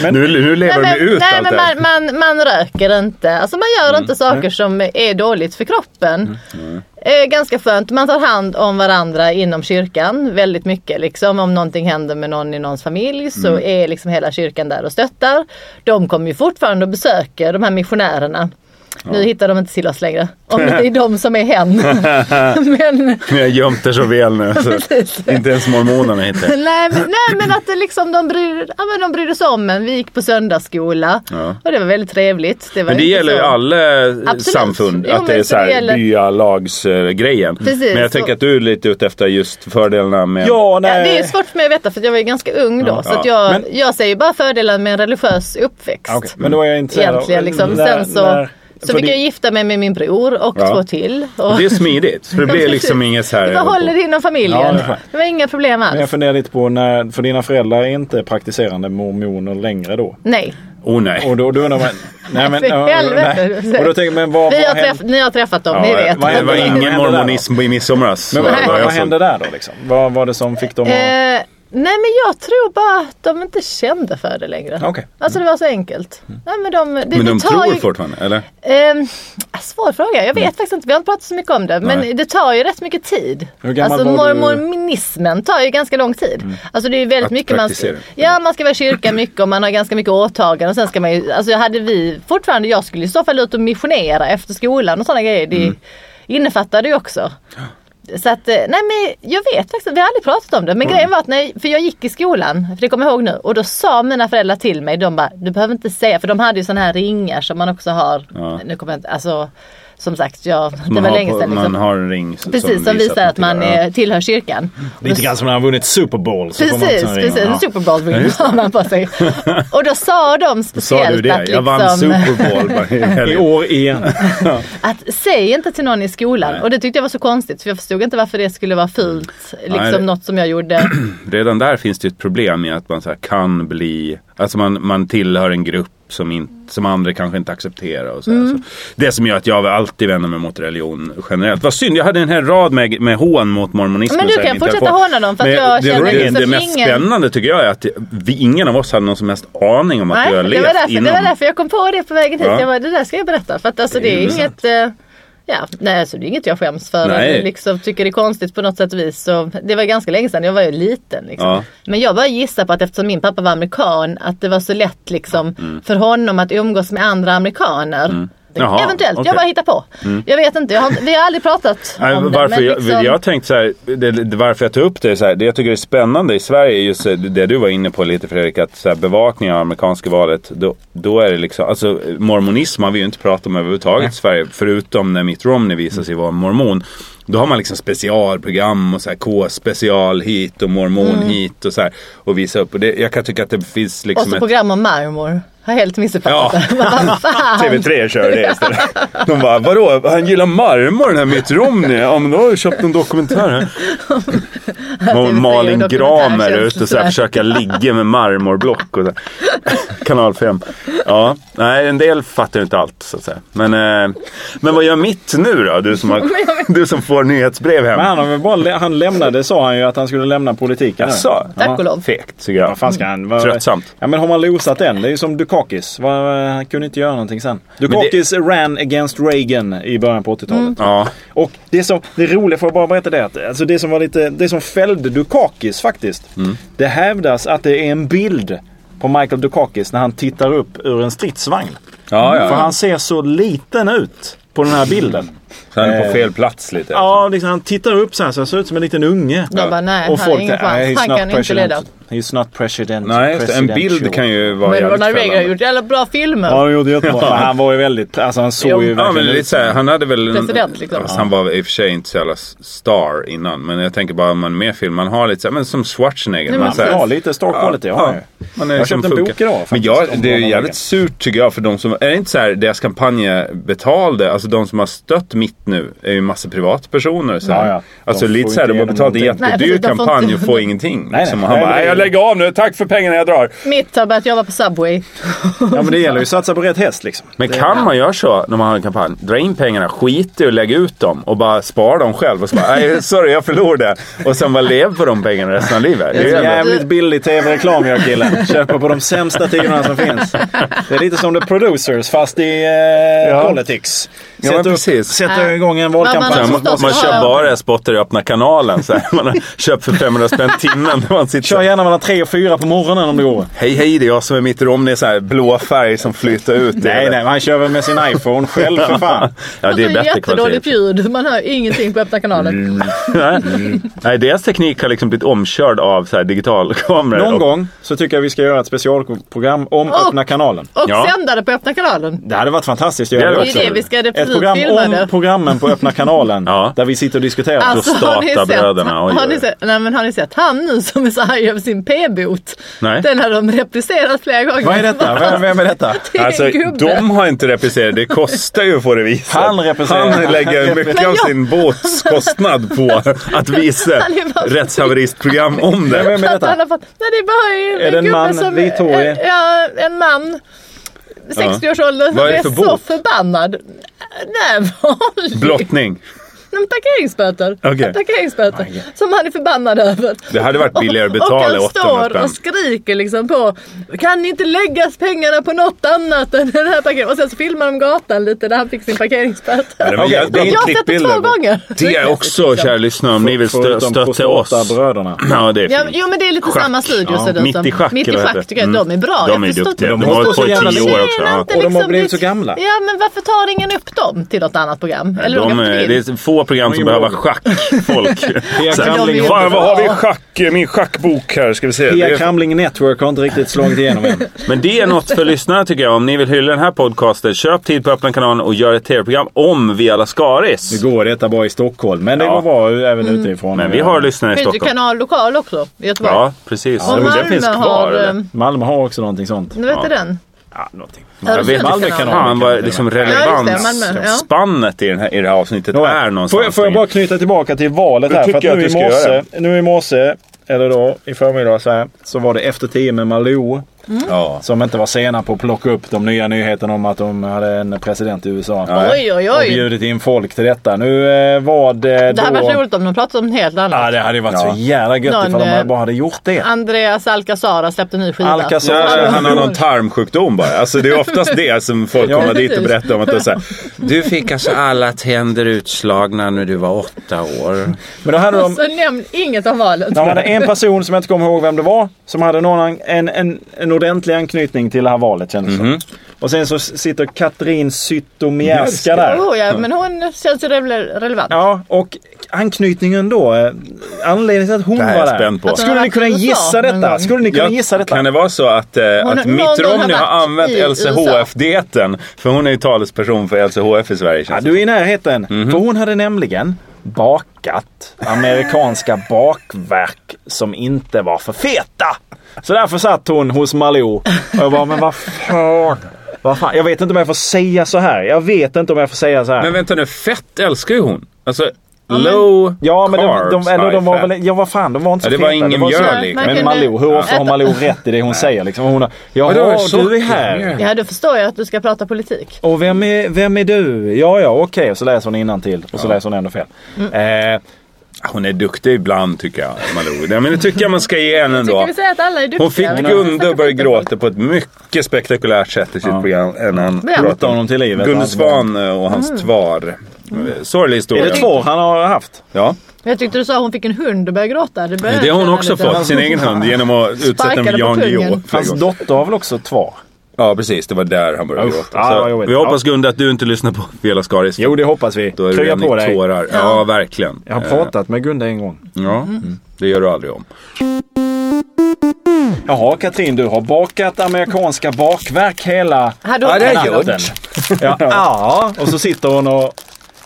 B: nu, nu lever
C: nej,
B: de ju
C: men,
B: ut
C: nej,
B: allt
C: men
B: det här. Mm,
C: man, man, man röker inte, alltså man gör inte saker som är dåligt för kroppen. Eh, ganska skönt, man tar hand om varandra inom kyrkan väldigt mycket. Liksom. Om någonting händer med någon i någons familj så
B: Mm.
C: är liksom hela kyrkan där och stöttar. De kommer ju fortfarande och besöker de här missionärerna. Nu hittar de inte till oss längre.
B: *laughs*
C: Om det är de som är hen. *laughs* men,
B: Men *laughs* jag har gömt det så väl
C: *laughs*
B: nu. Så. inte ens mormonerna hittar det.
C: Nej men, nej, men att det liksom, de, bryr, ja, men de brydde sig om en. Vi gick på söndagsskola
B: Ja.
C: och det var väldigt trevligt. Det var
B: Men det
C: inte
B: gäller ju
C: så-
B: alla eh,
C: Absolut.
B: samfund,
C: Jo,
B: att det
C: men
B: är
C: så
B: så här
C: det gäller-
B: byalagsgrejen.
C: Precis,
B: men jag
C: så-
B: tänker att du är lite ute efter just fördelarna med...
E: Ja,
C: Ja,
E: nej.
C: det är ju svårt för mig att veta för jag var ju ganska ung då.
B: Ja.
C: så att
B: Ja.
C: jag,
E: Men-
C: jag säger bara fördelen med en religiös uppväxt.
E: Okej, Men då är jag intresserad av-
C: Egentligen liksom.
E: när-
C: Sen så,
E: när-
C: så
E: för
C: fick
E: det-
C: jag gifta mig med min bror och
B: Ja.
C: två till. Och
B: Det är smidigt. Så det blir liksom inget så här...
C: jag håller det inom
E: Ja,
C: familjen.
E: det är skönt.
C: det var inga problem
E: Men jag
C: alls.
E: funderar lite på när, för dina föräldrar är inte praktiserande mormoner längre då?
C: Nej.
B: Oh nej.
E: Och då,
C: *laughs*
E: då undrar man... Nej men...
C: För helvete.
E: nej. Och då tänker man, vad,
C: Vi
E: vad
C: har träff,
E: händer,
C: ni har träffat dem,
B: Ja,
C: ni vet.
E: vad
B: det var
E: händer där?
B: ingen
E: Vad händer
B: mormonism i midsommaras.
E: men,
B: Det
E: vad,
B: var
E: vad
B: jag som-
E: hände där då liksom? Vad var det som fick dem att...
C: Eh, nej men jag tror bara att de inte kände för det längre.
E: Okej.
C: Alltså det var så enkelt. Nej, men de, det,
B: Mm. Men
C: det
B: de
C: tar
B: tror
C: ju,
B: fortfarande, eller?
C: Ehm, svår fråga. Jag vet faktiskt inte. Vi har inte pratat så mycket om det. Men
B: Nej.
C: det tar ju rätt mycket tid.
E: Hur gammal
C: alltså
E: var du?
C: mormonismen tar ju ganska lång tid. Alltså det är ju väldigt
B: Mm. Att
C: mycket man ska,
B: praktisera.
C: Ja, man ska vara i kyrkan mycket och man har ganska mycket åtaganden. Och sen ska man ju, alltså hade vi fortfarande, jag skulle i så fall ut och missionera efter skolan och sådana grejer. Det
B: Mm.
C: innefattar det ju också. Så att, eh, nej men jag vet faktiskt vi har aldrig pratat om det.
B: Mm.
C: Men grejen var att, nej, för jag gick i skolan, för det kommer jag ihåg nu, och då sa mina föräldrar till mig, de bara, du behöver inte säga, för de hade ju sådana här ringar som man också har,
B: Ja.
C: nu kommer jag inte, alltså som sagt, jag, det
B: Man
C: var
B: har
C: länge
B: på-
C: sedan. Liksom.
B: Man har en ring som
C: Precis, som visar att man
B: tillhör-
C: eh, tillhör kyrkan.
E: Lite grann som när han vunnit Super Bowl. Så får man
C: Precis,
E: sån ring.
C: precis. En
E: Ja.
C: Super Bowl ring *laughs* har man
B: *laughs*
C: på sig. Och då sa de
B: Sa
C: speciellt
B: du det?
C: att
B: Jag vann
C: liksom,
B: Super Bowl bara i
E: I
B: helgen.
E: år igen.
C: *laughs* att säg inte till någon i skolan.
B: Nej.
C: Och det tyckte jag var så konstigt för jag förstod inte varför det skulle vara fult. Liksom
B: det-
C: något som jag gjorde.
B: *clears throat* Redan där finns det ju ett problem med att man så här kan bli... Alltså man, man tillhör en grupp som, inte, som andra kanske inte accepterar. Och så här.
C: Mm.
B: så det som gör att jag alltid vänder mig mot religion generellt. Vad synd, jag hade en hel rad med, med hån mot mormonismen.
C: Men du
B: så här i
C: kan
B: min
C: fortsätta
B: telefon.
C: håna dem, för att
B: Men
C: jag
B: det, det,
C: känner liksom
B: det mest
C: ingen-
B: spännande tycker jag är att vi, ingen av oss hade någon som helst aning om att
C: Nej,
B: vi har
C: det,
B: levt
C: var därför,
B: inom...
C: det var därför jag kom på det på vägen hit.
B: Ja.
C: Jag bara, det där ska jag berätta. För att alltså,
B: Det
C: det
B: är
C: är
B: intressant.
C: inget... eh, Ja, nej, alltså, det är inget jag skäms för.
B: Nej.
C: eller Liksom, tycker det är konstigt på något sätt och vis. Så, det var ganska länge sedan, jag var ju liten. Liksom.
B: Ja.
C: Men jag bara gissar på att eftersom min pappa var amerikan att det var så lätt liksom, för honom att umgås med andra amerikaner.
B: Jaha,
C: Mm. Eventuellt,
B: okej.
C: jag bara hittar på. Jag vet inte, jag har, inte- vi har aldrig *laughs* pratat
B: Nej,
C: om det.
B: varför
C: men
B: jag,
C: liksom-
B: jag tänkte så här, det, det, varför jag tog upp det är så här, det jag tycker är spännande i Sverige är just det- det du var inne på lite Fredrik, att så här, bevakningen av amerikanska valet, då, då är det liksom, alltså mormonism har vi ju inte pratat om överhuvudtaget i Sverige, förutom när Mitt Romney visar
C: Mm.
B: sig vara mormon. Då har man liksom specialprogram och så här K-special hit och mormon hit och så här och visa upp. Och det, jag kan tycka att det finns
C: Mm. Och
B: liksom
C: så
B: ett...
C: program om marmor. Har helt missuppfattat
B: Ja.
C: det. *laughs* Vad fan.
B: TV3 kör det istället. De bara, vadå, han gillar marmor den här Mitt Romney? Ja men då har jag köpt en dokumentär här. Och
C: TV3
B: Malin
C: och
B: Gramer är
C: dokumentärtjänsten
B: ute och så här
C: sådär.
B: försöka ligga med marmorblock. Och så. här. Kanal 5. Ja, nej en del fattar ju inte allt så att säga. Men, eh, men vad gör mitt nu då? Du
C: *laughs*
B: som, har, du som får nyhetsbrev
E: Men
B: hem.
E: han, har väl bara, han lämnade, sa han ju, att han skulle lämna politiken. nu.
B: Jaså?
C: Tack och lov.
B: Fegt tycker jag.
E: Vad fan ska han? Vad,
B: Tröttsamt.
E: Ja, men har man losat den? Det är ju som Dukakis. Vad- Han kunde inte göra någonting sen. Dukakis ran against Reagan i början
C: Mm.
E: på 80-talet.
B: Ja.
E: Och det som, det roliga, får jag bara berätta det? Att, alltså det som var lite, det som fällde Dukakis faktiskt.
B: Mm.
E: Det hävdas att det är en bild på Michael Dukakis när han tittar upp ur en stridsvagn.
B: Ja, ja.
E: För han ser så liten ut på den här bilden.
B: Så han Eh. är på fel plats lite.
E: Ja, liksom, han tittar upp så här så han ser ut som en liten unge.
C: De bara, nej,
E: Och
C: han har
E: folk
C: ingen
E: tänker, "Nej,
C: chans.
E: he's
C: Han
E: not
C: kan inte leda.
E: president. He's not president.
B: Nej, just det. en bild kan ju vara
C: Men
B: jävligt
C: Ronald Reagan har
B: fällande.
C: gjort jävla bra filmer.
E: Ja, han gjorde jättebra. Men han var ju väldigt, alltså han såg ju
C: Jo.
B: Ja,
E: verkligen
B: men lite
E: ut.
B: så här, han hade väl...
C: President, liksom.
B: Fast han var i och för sig inte så jävla star innan. Men jag tänker bara om man är med i film, man har lite så här, men som Schwarzenegger.
C: Nej,
B: man
C: men
B: så här,
E: Han har lite star quality, har han ju.
B: Man är
E: Jag har
B: som
E: köpt en
B: funkar.
E: bok idag
B: Men
E: faktiskt,
B: jag,
E: om
B: det är ju
E: Ronald
B: jävligt
E: Reagan.
B: surt tycker jag för de som, är det inte så här deras kampanj betalade, alltså de som har stött mitt nu är ju massa privatpersoner. Så här.
E: Ja, ja. De
B: Alltså
E: får
B: lite så här, de har
E: inte
B: betalat en
E: igenom
C: någonting.
B: jättedyr
C: Nej, precis, de får
B: kampanj och
C: inte-
B: får ingenting.
E: nej.
B: Liksom. Och han
E: Nej,
B: bara,
E: det är-
B: "Nej, jag lägger av nu, tack för pengarna jag drar.
C: Mitt har börjat jobba på Subway.
E: Ja, men det gäller ju att satsa på rätt häst liksom.
B: Men kan man göra så när man har en kampanj? Dra in pengarna, skit i och lägga ut dem och bara spara dem själv och så bara, nej sorry jag förlorade. Och sen bara lev på de pengarna resten av livet. Det är ju
C: tror
B: ändå-
C: jag-
E: Jävligt billig tv-reklam gör killen. Köper på de sämsta tiderna som finns. Det är lite som The Producers fast i eh, politics.
B: Ja, men
E: Sätter,
B: precis.
E: sätter igång en
C: Man
E: valkampanj.
B: Man,
C: måste
B: man,
C: också
B: kör
C: ha-
B: bara spotter i öppna kanalen. Så här. Man köper för 500 spänn timmen. när Man sitter så
E: Kör
B: här,
E: gärna mellan tre och fyra på morgonen om det går.
B: hej hej det är jag som är mitt rom. Det är så här blå färg som flyter ut.
E: Nej, nej, han kör väl
B: *laughs*
E: med sin iPhone själv för fan.
B: Ja, det är
C: Alltså,
B: bättre
C: jättedåligt
B: kvalitet. Mm,
C: ljud. Man hör ingenting på öppna kanalen.
B: *laughs* Nej. Nej, deras teknik har liksom blivit omkörd av så här digitalkameror.
E: Någon
B: Och-
E: gång så tycker jag vi ska göra ett specialprogram om
C: Och-
E: Öppna kanalen.
C: Och
B: Ja.
C: sända det på öppna kanalen.
E: Det hade varit fantastiskt att
B: Det
E: göra
B: hade
E: det
B: varit
E: också.
B: Det är det vi
C: ska definitivt
E: Ett program
C: filma
E: om
C: det.
E: programmen på Öppna kanalen.
B: *laughs* Ja.
E: Där vi sitter och diskuterar.
C: Alltså, har ni, sett,
B: Prostatabräderna, oj, oj, oj.
C: har, ni sett, nej, men har ni sett han nu som är så arg över sin p-bot?
B: Nej.
C: Den har de replicerat flera gånger.
E: Vad är detta? Vem, vem är detta?
C: Det är en
B: Alltså,
C: gubbe.
B: de har inte replicerat. Det kostar ju att få det visat.
E: Han replicerar.
B: Han lägger
C: Men
B: mycket av
C: jag-
B: sin båtskostnad på att visa
C: Han är bara-
B: rättshaveristprogram om
E: Vem
B: det.
E: är
C: Att han
E: detta?
C: har fått, nej, det är bara en,
E: Är det en
C: gubbe
E: man,
C: som...
E: vithårig?
C: en- Ja, en man. 60-årsåldern som
B: Vad är det
C: är,
B: för
C: så
B: bot?
C: förbannad. Nej, vanlig.
B: Blottning.
C: Nej, Parkeringsböter.
B: Okej.
C: Parkeringsböter. Som han är förbannad över.
B: Det hade varit billigare att betala
C: Och han
B: 800
C: står
B: spänn.
C: och skriker liksom på Kan ni inte lägga pengarna på något annat än den här parkeringen? Och sen så filmar de gatan lite där han fick sin parkeringsböter.
B: men jag- det är
C: jag har sett det två
E: klippbilder på-
C: gånger.
B: Det är liksom också, kära lyssnare, om ni vill stö-
E: Förutom
B: stötta oss.
E: Prostatabröderna.
B: Ja, det är
C: Ja,
B: fint.
C: jo men det är lite
B: Schack.
C: samma studio
B: Ja.
C: sådär.
B: Mitt i schack,
C: Mitt i
B: eller vad heter
C: schack
B: det? Mm.
C: tycker jag. De är bra.
B: De
C: jag
B: är
C: förstår
B: duktiga.
C: inte-
B: De har
E: måste
B: hållit på
E: så jävla
B: i tio år
E: länge.
B: också.
C: Tjena,
B: Ja.
C: inte
E: Och de har
C: liksom
E: blivit
C: ditt-
E: så gamla.
C: Ja men varför tar ingen upp dem till något annat program? Eller de,
B: De,
C: åker
B: eh,
C: inte
B: det
C: in?
B: är få program som
E: Ingen
B: behöver
E: vågar.
B: *laughs* schackfolk. Så här,
E: Kramling-
B: Fan, vad har vi i schack? Min schackbok här ska vi se. Det
E: Pia
B: är-
E: Kramling Network har inte riktigt slagit igenom än.
B: Men det är något för lyssnare tycker jag. Om ni vill hylla den här podcasten, köp tid på Öppna kanalen och gör ett tv-program om Via
E: Nu
B: Lascaris.
E: går detta bara i Stockholm, men det
B: Ja.
E: går bra eh, även utifrån.
B: Men vi har lyssnare i
C: Finns det
B: Stockholm.
C: kanal lokal också i Göteborg?
B: Ja, precis.
C: Och
B: Men det
C: Malmö
B: finns kvar.
C: har...
B: eller?
C: eh,
E: Malmö har också någonting sånt.
C: Nu vet du den?
E: Ja, någonting.
B: Jag vet
C: Öresundskanalen.
B: inte
E: Malmö
B: fan vad liksom
C: Ja, just det, Malmö, ja.
B: relevansspannet i, den här- i det här avsnittet är någonstans.
E: Får jag, får jag bara knyta tillbaka till valet
B: Det
E: här?
B: tycker
E: För att
B: jag att
E: nu,
B: du
E: i
B: ska
E: morse,
B: göra.
E: nu i morse, eller då i förmiddag så, här, så var det Efter tio med Malou.
B: Ja.
E: Som inte var sena på att plocka upp de nya nyheterna om att de hade en president i USA.
B: Ja.
C: Oj, oj,
E: Och
C: oj.
E: bjudit in folk till detta. Nu eh, var det
C: Det
E: då...
C: hade varit roligt om de pratade om något helt
E: Ja,
C: annat.
E: det hade ju varit
B: Ja.
E: så jävla gött
C: Någon,
E: ifall de
C: eh,
E: hade- bara hade gjort det.
C: Andreas Alcazar har släppt en ny skiva.
E: Alcazar,
B: Ja, han har någon tarmsjukdom bara. Alltså, det är oftast det som folk
E: Ja,
B: kommer dit och
C: precis.
B: berättar om. Att de så här, du fick alltså alla tänder utslagna när du var åtta år.
E: Men då hade
C: Och
E: de...
C: så nämn inget om valet.
E: De hade en person som jag inte kommer ihåg vem det var. Som hade någon, en, en, en ordentlig anknytning till det här valet kändes det
C: Mhm.
E: som. Och sen så sitter Katrin Zytomierska där.
C: Oh, ja, men hon känns ju rele- relevant.
E: Ja, och anknytningen då. eh, Anledningen till att hon
B: Det här är
E: var
B: jag
E: där.
B: spänd på. Att
C: hon
E: Skulle
C: har
E: ni
C: varit
E: kunna
C: i USA
E: gissa
C: någon
E: detta?
C: gång.
E: Skulle ni kunna
B: Ja,
E: gissa detta?
B: Kan det vara så att, eh,
C: Hon-
B: att
C: någon
B: Mitt
C: gång har
B: Romney har
C: varit
B: använt
C: i
B: LCHF-dieten? För hon är ju talesperson för LCHF i Sverige.
E: Ja,
B: Känns det
E: du är i närheten.
B: Mhm.
E: För hon hade nämligen bakat
B: *laughs*
E: amerikanska bakverk som inte var för feta. Så därför satt hon hos Malou och jag bara, men vad fan. Vad fan? Jag vet inte om jag får säga så här. Jag vet inte om jag får säga så här.
B: Men vänta nu, fett älskar ju hon. Alltså, low
E: ja, men de,
B: carbs,
E: de, eller de
B: high
E: var
B: fat.
E: väl... Ja, vad fan. De var inte så
B: Ja, det
E: feta.
B: var ingen
E: så-
B: mjöl
C: Nej,
B: liksom.
C: man
E: Men
C: kunde
E: Malou, hur ofta har
C: äta-
E: Malou rätt i det hon säger? Liksom? Hon har, Jaha,
B: Vadå,
E: du
B: socker?
E: är här.
C: Ja, då förstår jag att du ska prata politik.
E: Och vem är, vem är du? Ja, ja, okej. Och så läser hon innantill och så läser hon ändå fel. Eh,
B: Hon är duktig ibland tycker jag, Malou. Nej, men det tycker jag man ska ge henne
C: Tycker
B: ändå.
C: vi säga att alla är duktiga?
B: Hon fick
C: Vi kan
B: Gunde
C: snacka
B: att börja
C: skit om folk.
B: gråta på ett mycket spektakulärt sätt i sitt
E: Ja.
B: program. Innan
C: Vem?
E: Tar honom till livet.
B: Gunde
E: Alltså.
B: Svan eh, och hans
C: Mm.
B: tvar. Eh, Sorglig
E: Är
B: historia.
E: det två han har haft?
B: Ja.
C: Men Jag tyckte du sa att hon fick en hund och började gråta. Det, började
B: Det har hon
C: känna
B: också
C: lite-
B: fått, sin egen hund, genom att utsätta den
C: Sparkade
B: för
C: på
B: Jan
C: pungen.
B: Guillou.
E: Hans dotter har väl också två?
B: Ja, precis. Det var där han började
E: Usch. Ah,
B: gråta.
E: Ja, vad
B: Så
E: jobbigt.
B: vi hoppas Gunde att du inte lyssnar på Vela Skaris.
E: Jo, det hoppas vi.
B: Då är
E: Krya
B: du
E: på dig.
B: tårar. Ja, verkligen.
E: Jag har
B: Eh,
E: pratat med Gunde en gång.
B: Ja,
C: Mm.
B: Mm. det gör du aldrig om.
E: Jaha, Katrin, du har bakat amerikanska bakverk hela
C: Hade hon
B: Ja, det
C: en
B: är
C: hund?
B: gjort.
E: *laughs* Ja, ja. Och så sitter hon och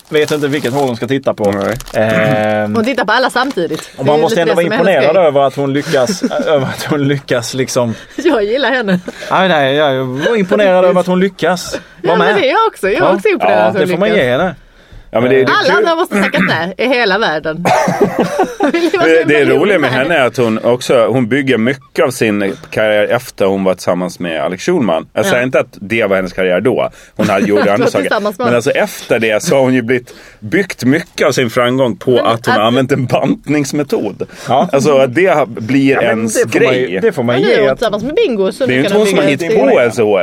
E: vet inte vilket håll hon ska titta på.
B: Nej.
E: Ehm,
C: Hon tittar på alla samtidigt. Det är
E: och man
C: ju
E: måste
C: lite
E: ändå
C: det
E: vara
C: som är hennes
E: imponerad
C: grej.
E: över att hon lyckas, *laughs* över att hon lyckas liksom...
C: Jag gillar henne.
E: Nej, nej, jag
C: *laughs*
E: var imponerad över att hon lyckas
C: Ja,
E: vara
C: men det är
E: med.
C: jag också. Jag är också imponerad
E: ja,
C: att hon
E: det får man
C: lyckas.
E: ge henne.
B: Ja, men det, det,
C: Alla andra måste tackat nej i hela
E: *laughs*
C: världen. det,
B: det, det roliga med henne är att hon också hon bygger mycket av sin karriär efter hon var tillsammans med Alex Schulman. Jag säger
C: Ja.
B: inte att det var hennes karriär då. Hon hade
C: *laughs*
B: gjort andra
C: tillsammans
B: saker.
C: med
B: Men
C: honom.
B: alltså efter det så har hon ju blivit, byggt mycket av sin framgång på att hon har
C: att-
B: använt en bantningsmetod.
E: Ja.
B: Alltså att det blir ens
E: det, får man,
B: grej.
E: ju- det får man
C: Men nu är
E: ge.
C: hon
E: Att,
C: tillsammans med Bingo. Så
B: Det är ju inte hon som har hittat på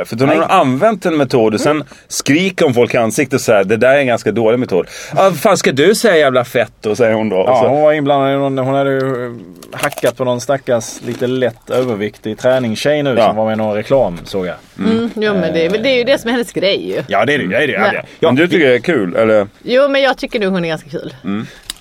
B: LCHF. Utan hon har använt en metod och
E: Mm.
B: sen skriker hon folk i ansiktet så här. Det där är en ganska dålig metod. Ah, vad fan ska du säga jävla fett då? Säger hon då. Och
E: ja,
B: så-
E: hon var inblandad i någon, hon hade ju eh, hackat på någon stackars lite lätt överviktig träningstjej nu
B: Ja.
E: som var med i någon reklam såg jag.
C: Mm, jo, men det, är väl- det är ju det som är hennes grej ju.
E: Ja det är det, det är det.
C: Ja. det.
B: Men du tycker det är kul, eller?
C: Jo, men jag tycker nog hon är ganska kul.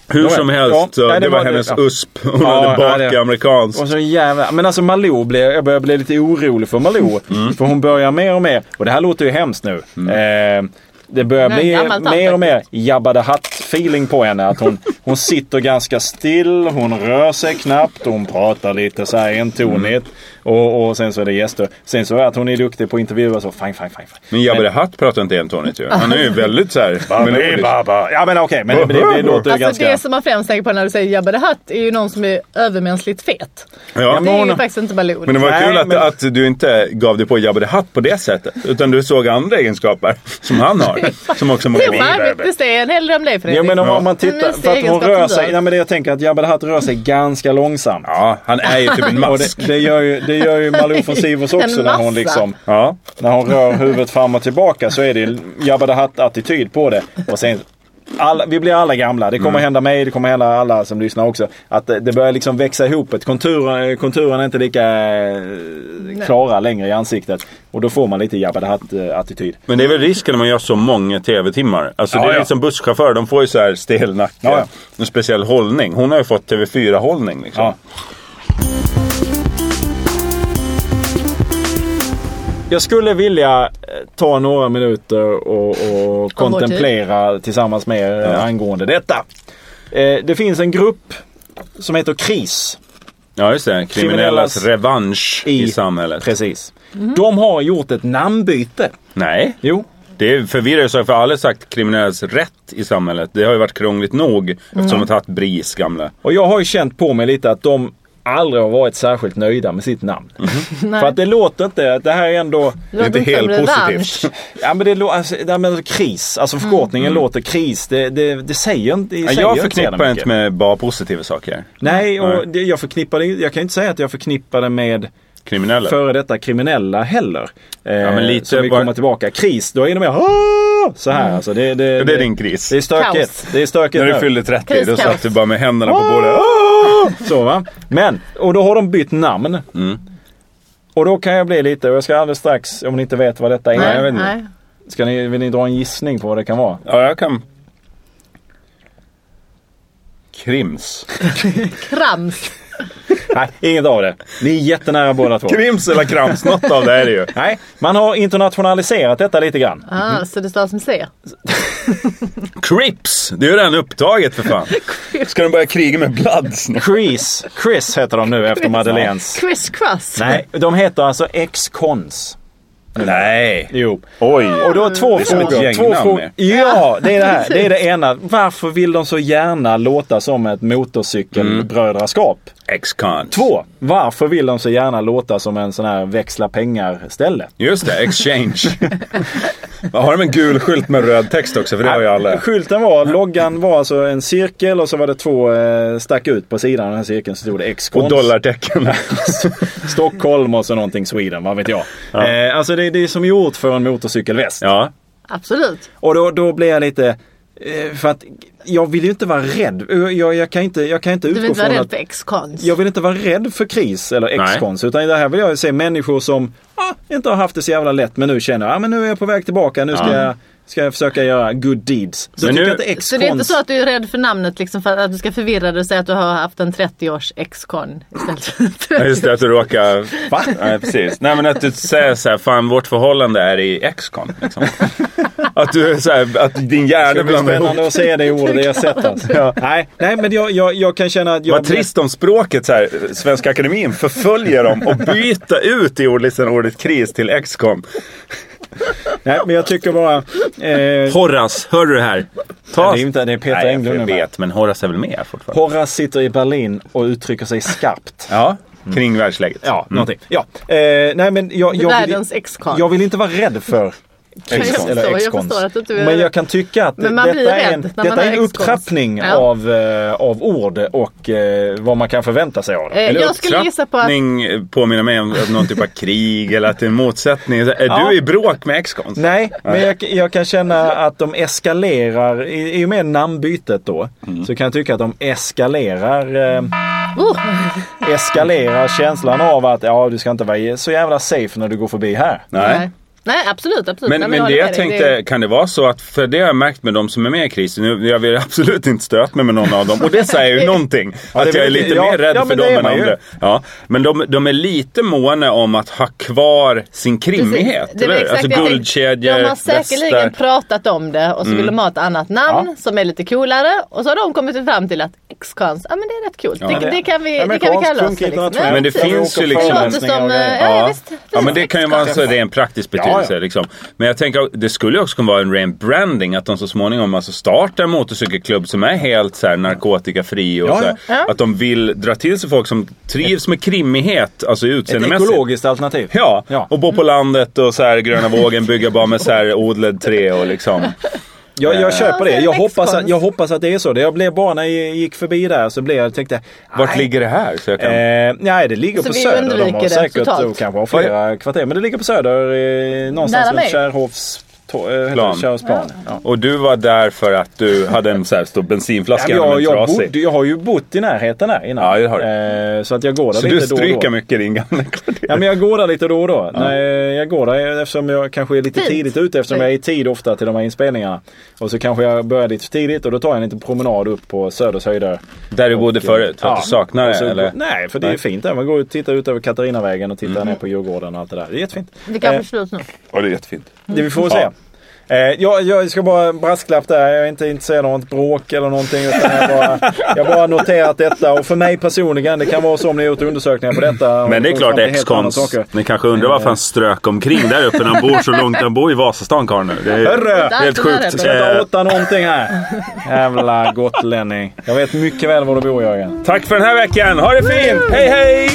B: Hur
E: Nåväl.
B: som helst,
E: Ja,
B: så
E: nej,
B: det,
E: det
B: var
E: var det,
B: hennes
E: ja.
B: USP. Hon
E: Ja,
B: hade
E: ja,
B: bakat
E: det-
B: amerikanskt.
E: Och så jävla, men alltså Malou, blir, jag börjar bli lite orolig för Malou. För hon börjar mer och mer, och det här låter ju hemskt nu. Eh, det börjar
C: Nej,
E: bli
C: gammal tant
E: mer och mer Jabba the Hutt-feeling på henne. Att hon, hon sitter ganska still, hon rör sig knappt, hon pratar lite så här entonigt. Och, och sen så är det gäster. Sen så är det att hon är duktig på att intervjua så. Fine, fine, fine. fine.
B: Men Jabba the Hutt pratar inte entonigt ju. Han är *laughs* ju väldigt såhär... melodisk.
E: Ja men okej, men det, det, det låter ju
C: Alltså
E: ganska...
C: det som man främst tänker på när du säger Jabba the Hutt är ju någon som är övermänskligt fet.
B: Ja.
C: Det är ju
E: hon-
C: faktiskt inte Baloo.
B: Men det var
E: Nej,
B: kul att,
E: men-
B: att du inte gav dig på Jabba the Hutt på det sättet. Utan du såg andra egenskaper som han *laughs* har. Som också många
C: Jo, fan, visst är en hel del om dig Fredrik.
E: Jo men om,
B: Ja.
E: om man tittar,
C: Men
E: för att hon
C: egenskapen
E: rör
C: dör.
E: sig, nej men det jag tänker att Jabba the Hutt rör sig ganska långsamt.
B: Ja, han är ju *laughs* typ en
E: Och
B: mask.
E: det, det, gör ju, det gör ju Malou
C: *laughs*
E: von Sivers
C: En
E: också när hon,
C: massa.
E: liksom,
B: Ja.
E: när hon rör huvudet fram och tillbaka så är det Jabba the Hutt-attityd på det. Och sen, alla, vi blir alla gamla. Det kommer
B: Mm.
E: hända mig, det kommer hända alla som lyssnar också. Att det, det börjar liksom växa ihop. Ett kontur, konturen är inte lika eh, klara längre i ansiktet. Och då får man lite Jabba the Hutt-attityd.
B: Men det är väl risken när man gör så många tv-timmar. Alltså det
E: Ja,
B: är
E: ja.
B: lite som busschaufförer, de får ju så här stel nacke.
E: Ja, ja.
B: En speciell hållning. Hon har ju fått TV4-hållning liksom.
E: Ja. Jag skulle vilja eh, ta några minuter och, och kontemplera tillsammans med er eh, angående detta. Eh, Det finns en grupp som heter KRIS.
B: Ja, just det. Kriminellas
E: Kriminellas
B: revansch i,
E: i
B: samhället.
E: Precis.
B: Mhm.
E: De har gjort ett namnbyte.
B: Nej,
E: Jo.
B: det förvirrar ju saker. För alla har sagt kriminellas rätt i
E: Mhm.
B: samhället. Det har ju varit krångligt nog eftersom de har tagit BRIS gamla.
E: Och jag har ju känt på mig lite att de aldrig har varit särskilt nöjda med sitt namn.
B: Mhm.
C: Nej.
E: *laughs* För att det låter inte, det här är ändå...
C: Det låter
B: Inte
C: inte som
B: helt
C: revansch.
B: positivt.
E: Ja men det låter, alltså, det här med kris, alltså förkortningen låter kris. Det, det, det säger inte det
B: Mm. Ja,
E: säger
B: jag
E: inte så
B: förknippar
E: jävla
B: inte
E: mycket.
B: med bara positiva saker.
E: Nej,
B: Nej.
E: och det, jag förknippar det, jag kan inte säga att jag förknippar det med
B: Kriminella.
E: före detta kriminella heller. Eh, ja,
B: men lite
E: som vi
B: bara- Mm.
E: kommer tillbaka. Kris, då är det mer "Åh!" så här alltså. Det, det,
B: det är din kris.
E: Det är stökigt.
C: Kaos.
E: Det är stökigt
B: När du
E: nu.
B: fyllde 30 då
C: Kriskaos.
B: satt du bara med händerna på bordet. *laughs*
E: Så va. Men, och då har de bytt namn.
B: Mm.
E: Och då kan jag bli lite, och jag ska alldeles strax, om ni inte vet vad detta är.
C: Nej,
E: jag vet inte.
C: nej.
E: Ska ni, vill ni dra en gissning på vad det kan vara?
B: Ja, jag kan. Krims.
C: Krams.
E: Nej, inget av det. Ni är jättenära båda två.
B: Krims eller krams, något av det är det ju.
E: Nej, man har internationaliserat detta lite grann.
C: Ah, Så det stavas med C.
B: Crips! Det är ju redan upptaget för
E: *laughs*
B: fan. Ska de börja kriga med Bloods nu?
E: Chris, Chris heter de nu efter Madeleines.
C: Criss cross.
E: Nej, de heter alltså Ex-Cons.
B: Nej.
E: Jo.
B: Oj.
E: Och då två
B: som ett
E: frågor.
B: gäng
E: Två
B: namn
E: frågor. Ja, det är det här. Det är det ena. Varför vill de så gärna låta som ett motorcykelbrödraskap?
B: Mm. Ex-cons.
E: Två. Varför vill de så gärna låta som en sån här växla pengar-ställe?
B: Just det, exchange. har de en gul skylt med röd text också? För det har ju alla.
E: Skylten var, loggan var alltså en cirkel och så var det två eh, stack ut på sidan av den här cirkeln så stod det Ex-Cons.
B: Och dollartecken.
E: Stockholm och så någonting Sweden, vad vet jag. Eh, alltså det, det är som gjort för en motorcykelväst.
B: ja.
C: Absolut.
E: Och då, då blir jag lite... eh, För att jag vill ju inte vara rädd. Jag, jag, kan, inte, jag kan inte
C: Du vill
E: utgå
C: inte vara
E: från
C: rädd
E: att...
C: för ex-konst.
E: Jag vill inte vara rädd för kris eller
B: Nej.
E: ex-kons. Utan det här vill jag se människor som ah, inte har haft det så jävla lätt men nu känner ah, men nu är jag på väg tillbaka. Nu ska,
B: Ja.
E: jag, ska jag försöka göra good deeds. Så
B: Men
E: tycker
B: nu-
E: jag att ex-kons...
C: Så det är inte så att du är rädd för namnet liksom för att du ska förvirra dig och säga att du har haft en 30-års ex-kon istället för
B: Ja,
E: *laughs*
B: Just det, att du råkar... Va? Nej, precis. Nej, men att du säger så här, fan vårt förhållande är i X-con. Liksom. Att du är så här, att din hjärna
E: Det blir
B: blandar ihop.
E: spännande att se det i ord, det
C: *laughs*
E: jag sett. Alltså. Ja. Nej, nej, men jag, jag, jag kan känna att jag...
B: Vad trist om språket, så här, Svenska Akademin förföljer dem och byta ut i ordlistan ordet kris till X-con.
E: Nej, men jag tycker bara... Eh,
B: Horras, hör du det här? Ta...
E: Nej, det är inte- det är Peter
B: Nej, jag
E: Englund nu, va?
B: vet, men Horras är väl med fortfarande?
E: Horace sitter i Berlin och uttrycker sig skarpt.
B: Ja, Mm. kring världsläget.
E: Ja, någonting. Ja. Eh, nej, men jag, jag, vill,
C: världens ex-kon.
E: jag vill inte vara rädd för
B: Jag
E: ex
B: förstår,
E: eller
C: jag
E: ex
C: förstår att du inte är
E: Men jag
C: rädd.
E: kan tycka att
C: Men man
E: detta
C: blir
E: är en,
C: rädd när man
E: detta är en
C: har ex-konst.
E: upptrappning
C: Ja.
E: av, eh, av ord och eh, vad man kan förvänta sig av det.
C: Eh,
B: Eller
C: jag skulle gissa på att
B: upptrappning påminner mig om om någon typ av krig eller att det är en motsättning. Är du i bråk med X-con?
E: Nej, men jag, jag kan känna att de eskalerar. I, I och med namnbytet då
B: Mm.
E: så kan jag tycka att de eskalerar eh,
C: oh,
E: eskalerar känslan av att ja, du ska inte vara så jävla safe när du går förbi här.
C: nej. nej, absolut, absolut.
B: Men,
C: nej,
B: men det
C: håller
B: jag
C: med dig.
B: tänkte, kan det vara så att, för det har jag märkt med de som är med i krisen, nu, jag vill *laughs* absolut inte stöta mig med någon av dem och det säger ju
C: *laughs*
B: någonting.
E: det
B: att jag är
E: vet
B: lite
E: jag.
B: mer rädd
E: Ja,
B: för
E: men det
B: dem
E: är
B: än
E: man ju.
B: andra. Ja, men de, de är lite måna om att ha kvar sin krimmighet,
C: Precis, det är
B: eller hur?
C: exakt
B: Alltså
C: det jag tänkte.
B: guldkedjor, Mm.
C: De har säkerligen
B: västar.
C: pratat om det och så vill de ha ett annat namn som är lite coolare. Och så har de kommit fram till att X-Cons, ja men det är rätt coolt. det, det kan vi, det kan vi
E: Amerikansk
C: kalla oss
E: punk
C: för. Liksom.
E: internationellt.
B: Men det
C: precis.
B: finns ju
E: åker
B: liksom-
C: Det låter
E: föreläsningar och
C: som,
E: grejer.
C: eh, ja, ja. visst.
B: Ja, men det kan ju vara en
C: X-Cons.
B: så ren praktisk betydelse.
E: Ja, ja.
B: Liksom. Men jag tänker, det skulle ju också kunna vara en ren branding att de så småningom alltså startar en motorcykelklubb som är helt så här, narkotikafri och
E: Ja,
B: så här,
C: ja. Ja.
B: Att de vill dra till sig folk som trivs med krimmighet, alltså
E: Ett
B: utseendemässigt.
E: ekologiskt alternativ.
B: Ja,
E: Ja. Mm.
B: och bo på landet och så här gröna vågen, bygga bara med så
E: *laughs*
B: här odlad trä och liksom.
E: Jag, jag köper det.
C: Ja,
E: Jag
C: så är det
E: hoppas, att,
C: växtkonst.
E: jag hoppas att det är så. Det- Jag blev bara när jag gick förbi där så blev jag tänkte...
B: Vart
E: nej,
B: ligger det här? Så jag kan...
E: Eh, nej, det ligger
C: Så
E: på
C: vi
E: Söder. De
C: undviker
E: har
C: det
E: säkert
C: totalt.
E: och kanske har flera kvarter. Men det ligger på Söder. Eh, någonstans
C: Nära
E: runt
C: mig.
E: Kärrhovs... to- eh, heter
B: Plan.
E: det? Kärrhovsplan. Ja.
B: Och du var där för att du hade en så här stor bensinflaska
E: Ja, men jag,
B: med en
E: jag,
B: trasig.
E: bodde, jag har ju bott i närheten här innan.
B: Ja, det har
E: Eh, så att jag går där
B: Så
E: lite
B: du
E: då och då.
B: stryker mycket i din gamla *laughs* kvarter.
E: Ja, men jag går där lite då och då. Nej, jag går där eftersom jag kanske är lite
C: Fint.
E: tidigt ute eftersom jag är i tid ofta till de här inspelningarna. Och så kanske jag börjar lite för tidigt och då tar jag en liten promenad upp på Söders höjder.
B: Där du bodde förut, för att
E: Ja.
B: du saknar
E: Och
B: det?
E: så-
B: Eller? Mm.
E: Nej, för det är fint där. Man går och tittar ut över Katarinavägen och tittar ner på Djurgården och allt det där. Det är jättefint.
C: Det kanske är slut nu.
B: Ja, det är jättefint.
E: Det vi får se. Eh, jag, jag ska bara brasklapp där. Jag är inte intresserad av ett bråk eller någonting. Utan jag,
B: *laughs*
E: bara, jag bara noterat detta. Och för mig personligen, det kan vara så om ni har gjort undersökningar på detta. och
B: Men det är
E: kommit
B: klart
E: fram till helt andra
B: X-Cons.
E: saker.
B: Ni kanske undrar varför han strök omkring där uppe när han bor så långt. Han bor i Vasastan karln nu. Det
E: Hörru!
B: är helt
C: Där uppe.
B: sjukt.
E: Jag tar
B: Eh,
E: åtta någonting här. *laughs* Jävla gotlänning. Jag vet mycket väl var du bor Jörgen.
B: tack för den här veckan. Ha det fint! Hej hej!